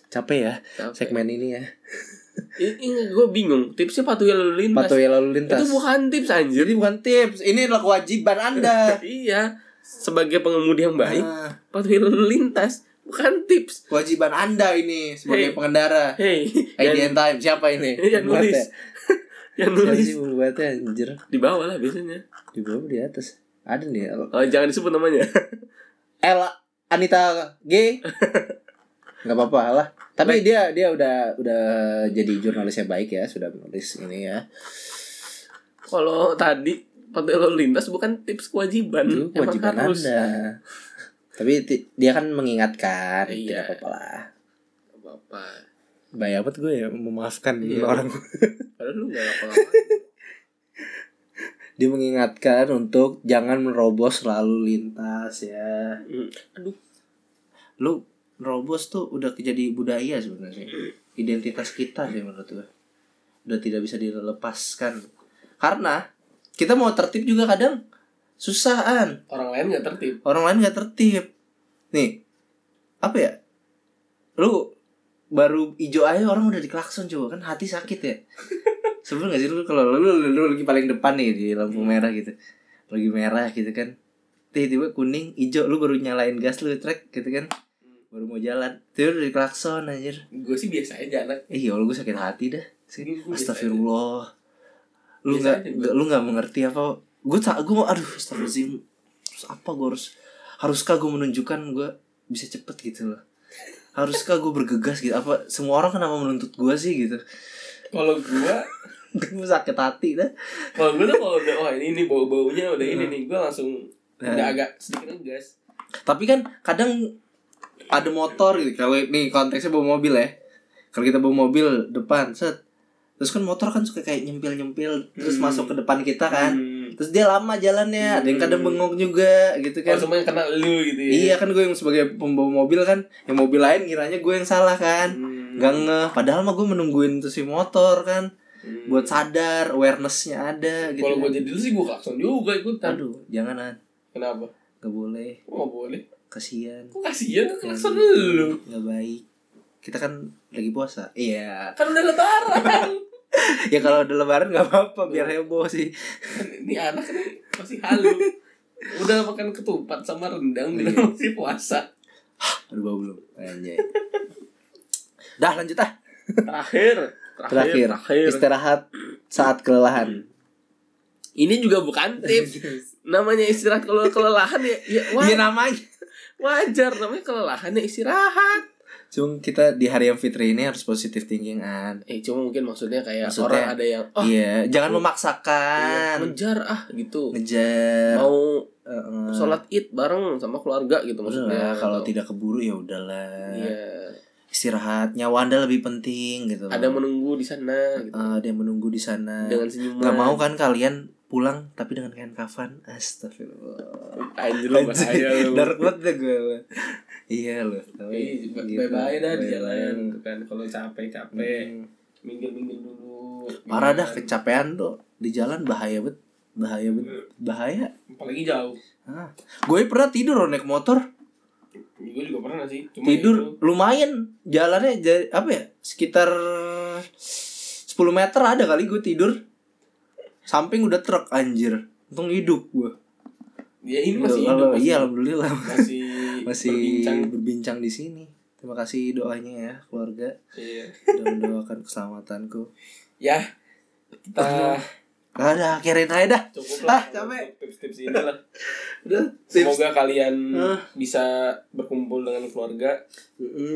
Speaker 2: capek ya
Speaker 1: Capek.
Speaker 2: segmen ini ya
Speaker 1: ini, gue bingung tipsnya patuhi lalu lintas
Speaker 2: patuhi lalu
Speaker 1: itu
Speaker 2: lintas
Speaker 1: bukan tips anjir
Speaker 2: jadi bukan tips ini adalah kewajiban anda
Speaker 1: iya sebagai pengemudi yang baik
Speaker 2: Nah.
Speaker 1: patuhi lalu lintas bukan tips
Speaker 2: kewajiban anda ini
Speaker 1: Hey.
Speaker 2: sebagai pengendara
Speaker 1: hey yang,
Speaker 2: IDN time siapa ini
Speaker 1: *laughs* yang nulis
Speaker 2: Pembuatnya.
Speaker 1: yang
Speaker 2: Siapa
Speaker 1: nulis
Speaker 2: ya. sih pembuatnya anjir
Speaker 1: di bawah lah biasanya
Speaker 2: di bawah apa di atas ada nih L,
Speaker 1: oh, jangan disebut namanya *laughs*
Speaker 2: L Anita G nggak apa-apa lah tapi dia dia udah udah jadi jurnalis yang baik ya sudah menulis ini ya
Speaker 1: kalau tadi patuhi lalu lintas bukan tips kewajiban
Speaker 2: itu
Speaker 1: Hmm, Emang
Speaker 2: Hmm, kewajiban
Speaker 1: harus.
Speaker 2: anda tapi ti- dia kan mengingatkan
Speaker 1: Iya.
Speaker 2: tidak apa-apa lah
Speaker 1: Gak apa-apa
Speaker 2: Bayar banget gue ya memaafkan
Speaker 1: Iya.
Speaker 2: orang *laughs*
Speaker 1: Padahal lu gak ngapa-ngapain
Speaker 2: Dia mengingatkan untuk jangan merobos lalu lintas ya
Speaker 1: Hmm. Aduh
Speaker 2: lu robos tuh udah jadi budaya sebenarnya identitas kita sih menurut gue udah tidak bisa dilepaskan karena kita mau tertib juga kadang susahan
Speaker 1: Orang lain gak tertib
Speaker 2: orang lain nggak tertib nih apa ya lu baru ijo aja orang udah diklakson coba kan hati sakit ya sebelum gak sih lu kalau lu, lu, lu lagi paling depan nih di lampu merah gitu lagi merah gitu kan tiba-tiba kuning ijo lu baru nyalain gas lu trek gitu kan baru mau jalan tiba udah diklakson anjir
Speaker 1: Gue sih biasa aja anak
Speaker 2: eh ya Allah gue sakit hati dah
Speaker 1: Gue- gue biasa
Speaker 2: Astagfirullah lu
Speaker 1: Biasa
Speaker 2: nggak
Speaker 1: aja,
Speaker 2: nggak- lu nggak mengerti apa gue tak gue aduh astagfirullahaladzim terus apa gue harus haruskah gue menunjukkan gue bisa cepet gitu loh haruskah gue bergegas gitu apa semua orang kenapa menuntut gue sih gitu *laughs*
Speaker 1: Kalau gue
Speaker 2: gue sakit hati dah
Speaker 1: Kalau gue tuh kalau udah Oh ini nih bau-baunya udah ini nih Gue langsung Udah
Speaker 2: Hmm. Nah.
Speaker 1: agak sedikit ngegas
Speaker 2: tapi kan kadang ada motor gitu kalau nih konteksnya bawa mobil ya kalau kita bawa mobil depan set terus kan motor kan suka kayak nyempil nyempil terus
Speaker 1: Hmm.
Speaker 2: masuk ke depan kita kan
Speaker 1: Hmm.
Speaker 2: terus dia lama jalannya ada yang kadang
Speaker 1: Hmm.
Speaker 2: bengong juga
Speaker 1: Oh
Speaker 2: gitu kan
Speaker 1: semuanya kena lu gitu ya
Speaker 2: iya kan gue yang sebagai pembawa mobil kan yang mobil lain kiranya gue yang salah kan
Speaker 1: Hmm.
Speaker 2: nggak ngeh padahal mah gue menungguin tuh si motor kan buat sadar awarenessnya ada gitu.
Speaker 1: Hmm. Kalau gue jadi lu sih gue klakson juga ikutan.
Speaker 2: Aduh, jangan An.
Speaker 1: Kenapa?
Speaker 2: Gak boleh.
Speaker 1: Gue gak boleh.
Speaker 2: Kasihan.
Speaker 1: Kok kasihan kan klakson
Speaker 2: Kayak gitu.
Speaker 1: lu.
Speaker 2: Nggak baik. Kita kan lagi puasa. Iya. *laughs*
Speaker 1: Kan udah lebaran.
Speaker 2: Ya kalau udah lebaran nggak apa-apa biar heboh sih.
Speaker 1: Ini anak nih masih halu. Udah makan ketupat sama rendang
Speaker 2: Iya.
Speaker 1: bilang masih puasa.
Speaker 2: Aduh, bau belum. Anjay. Dah lanjut ah.
Speaker 1: Terakhir.
Speaker 2: Terakhir. Istirahat saat kelelahan.
Speaker 1: Ini juga bukan tips. Namanya istirahat kalau kelelahan ya, ya wa-
Speaker 2: Iya namanya.
Speaker 1: wajar namanya kelelahan ya istirahat.
Speaker 2: Cuma kita di hari yang fitri ini harus positive thinking an.
Speaker 1: Eh cuma mungkin maksudnya kayak
Speaker 2: Maksudnya,
Speaker 1: orang ada yang oh
Speaker 2: Iya, jangan
Speaker 1: iya,
Speaker 2: memaksakan.
Speaker 1: ngejar ah gitu.
Speaker 2: Ngejar.
Speaker 1: Mau
Speaker 2: Heeh.
Speaker 1: sholat id bareng sama keluarga gitu maksudnya
Speaker 2: Udah lah, kalau
Speaker 1: atau-
Speaker 2: tidak keburu ya udahlah.
Speaker 1: iya
Speaker 2: Istirahat, nyawa Anda lebih penting gitu.
Speaker 1: ada menunggu di sana gitu.
Speaker 2: Eh, ada yang menunggu di sana.
Speaker 1: dengan senyuman
Speaker 2: Nggak mau kan kalian pulang tapi dengan kain kafan? Astagfirullah.
Speaker 1: anjir lu bahaya lu
Speaker 2: Dark banget deh gue. Iya loh. Tapi
Speaker 1: Ih,
Speaker 2: gitu.
Speaker 1: bye-bye dah di
Speaker 2: Bye-bye.
Speaker 1: jalan gitu kan kalau capek-capek
Speaker 2: Hmm.
Speaker 1: minggir-minggir dulu
Speaker 2: Parah
Speaker 1: Gitu
Speaker 2: dah
Speaker 1: kan.
Speaker 2: kecapean tuh di jalan bahaya bet bahaya bet
Speaker 1: Hmm.
Speaker 2: bahaya.
Speaker 1: apalagi jauh
Speaker 2: Ah. Gue pernah tidur loh naik motor.
Speaker 1: gue juga pernah sih Cuma
Speaker 2: tidur
Speaker 1: itu,
Speaker 2: lumayan jalannya jadi apa ya sekitar 10 meter ada kali gue tidur samping udah truk anjir untung hidup gue
Speaker 1: ya ini masih hidup
Speaker 2: Kalau- iya
Speaker 1: masih, *laughs*
Speaker 2: alhamdulillah
Speaker 1: masih
Speaker 2: *laughs* masih
Speaker 1: berbincang
Speaker 2: berbincang. di sini terima kasih doanya ya keluarga
Speaker 1: Iya.
Speaker 2: udah mendoakan keselamatanku
Speaker 1: ya kita
Speaker 2: nah, udah akhirin aja dah
Speaker 1: cukup lah
Speaker 2: Ah, capek.
Speaker 1: untuk tips-tips ini
Speaker 2: *laughs*
Speaker 1: lah
Speaker 2: udah
Speaker 1: semoga kalian
Speaker 2: Ah.
Speaker 1: bisa berkumpul dengan keluarga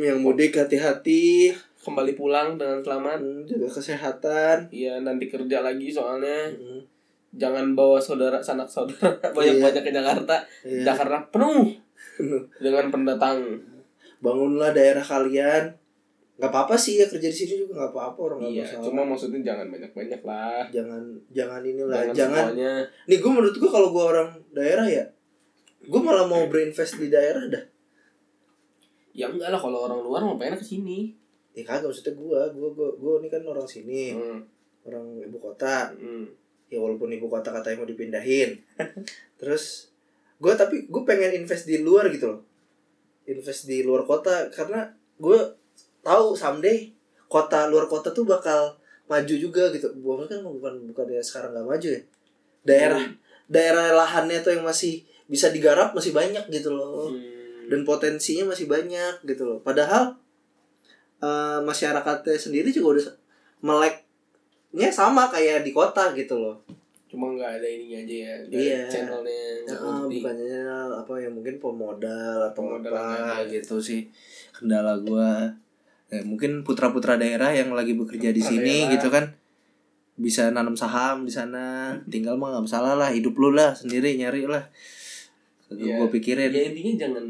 Speaker 2: yang mudik hati-hati
Speaker 1: kembali pulang dengan selamat
Speaker 2: jaga kesehatan
Speaker 1: Iya nanti kerja lagi soalnya jangan bawa saudara sanak saudara *laughs* banyak banyak
Speaker 2: Iya.
Speaker 1: ke Jakarta. Jakarta penuh dengan pendatang.
Speaker 2: bangunlah daerah kalian nggak apa-apa sih ya kerja di sini juga nggak apa-apa orang nggak
Speaker 1: Iya
Speaker 2: masalah
Speaker 1: cuma maksudnya jangan banyak banyak lah.
Speaker 2: jangan jangan inilah
Speaker 1: Jangan,
Speaker 2: jangan,
Speaker 1: semuanya.
Speaker 2: nih gue menurut gue kalau gue orang daerah ya gue malah mau berinvest di daerah dah
Speaker 1: Ya enggak lah kalau orang luar mau pengen ke sini.
Speaker 2: ya kagak maksudnya gue gue gue gue ini kan orang sini
Speaker 1: Hmm,
Speaker 2: orang ibu kota
Speaker 1: hmm.
Speaker 2: ya walaupun ibu kota katanya mau dipindahin *laughs* terus gue tapi gue pengen invest di luar gitu loh invest di luar kota karena gue tahu someday kota luar kota tuh bakal maju juga gitu bukan kan bukan bukan ya sekarang nggak maju ya daerah daerah lahannya tuh yang masih bisa digarap masih banyak gitu loh
Speaker 1: Hmm.
Speaker 2: dan potensinya masih banyak gitu loh padahal eh, masyarakatnya sendiri juga udah meleknya sama kayak di kota gitu loh
Speaker 1: cuma nggak ada ininya aja ya. nggak
Speaker 2: Iya.
Speaker 1: ada Channelnya nggak
Speaker 2: Ah,
Speaker 1: ngerti.
Speaker 2: bukannya apa ya mungkin pemodal atau
Speaker 1: Pemodal aja.
Speaker 2: apa gitu sih kendala gua Eh, mungkin putra-putra daerah yang lagi bekerja di
Speaker 1: Putra
Speaker 2: sini
Speaker 1: daerah.
Speaker 2: gitu kan bisa nanam saham di
Speaker 1: *laughs*
Speaker 2: sana tinggal mah nggak masalah lah hidup lu lah sendiri nyari lah
Speaker 1: Iya.
Speaker 2: gua pikirin
Speaker 1: Ya intinya jangan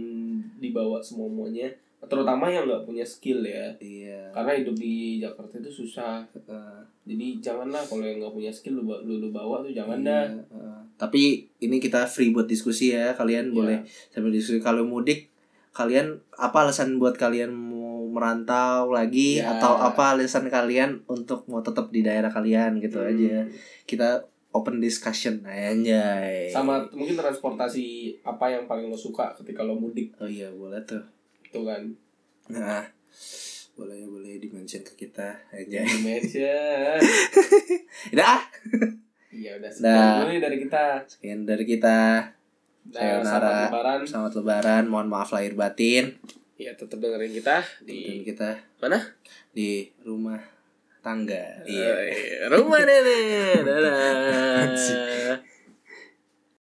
Speaker 1: dibawa semua semuanya terutama yang nggak punya skill ya
Speaker 2: iya
Speaker 1: karena hidup di Jakarta itu susah
Speaker 2: eh,
Speaker 1: jadi janganlah kalau yang nggak punya skill lu, ba- lu, lu bawa tuh jangan dah
Speaker 2: iya, eh. tapi ini kita free buat diskusi ya kalian
Speaker 1: Iya.
Speaker 2: boleh sambil diskusi kalau mudik kalian apa alasan buat kalian mau merantau lagi
Speaker 1: Ya.
Speaker 2: atau apa alasan kalian untuk mau tetap di daerah kalian gitu
Speaker 1: Hmm.
Speaker 2: aja kita open discussion anjay
Speaker 1: sama mungkin transportasi apa yang paling lo suka ketika lo mudik
Speaker 2: oh iya boleh tuh
Speaker 1: tuh kan
Speaker 2: nah boleh boleh dimention ke kita anjay *laughs*
Speaker 1: Indonesia
Speaker 2: dah
Speaker 1: iya udah
Speaker 2: Dah.
Speaker 1: sekian dulu nih dari kita
Speaker 2: sekian dari kita
Speaker 1: Dah,
Speaker 2: Sayonara.
Speaker 1: selamat lebaran
Speaker 2: selamat lebaran mohon maaf lahir batin
Speaker 1: ya tetap dengerin kita
Speaker 2: dan
Speaker 1: di
Speaker 2: kita
Speaker 1: Mana?
Speaker 2: di Iya. rumah tangga
Speaker 1: Iya. *laughs* Eh, rumah nenek dadah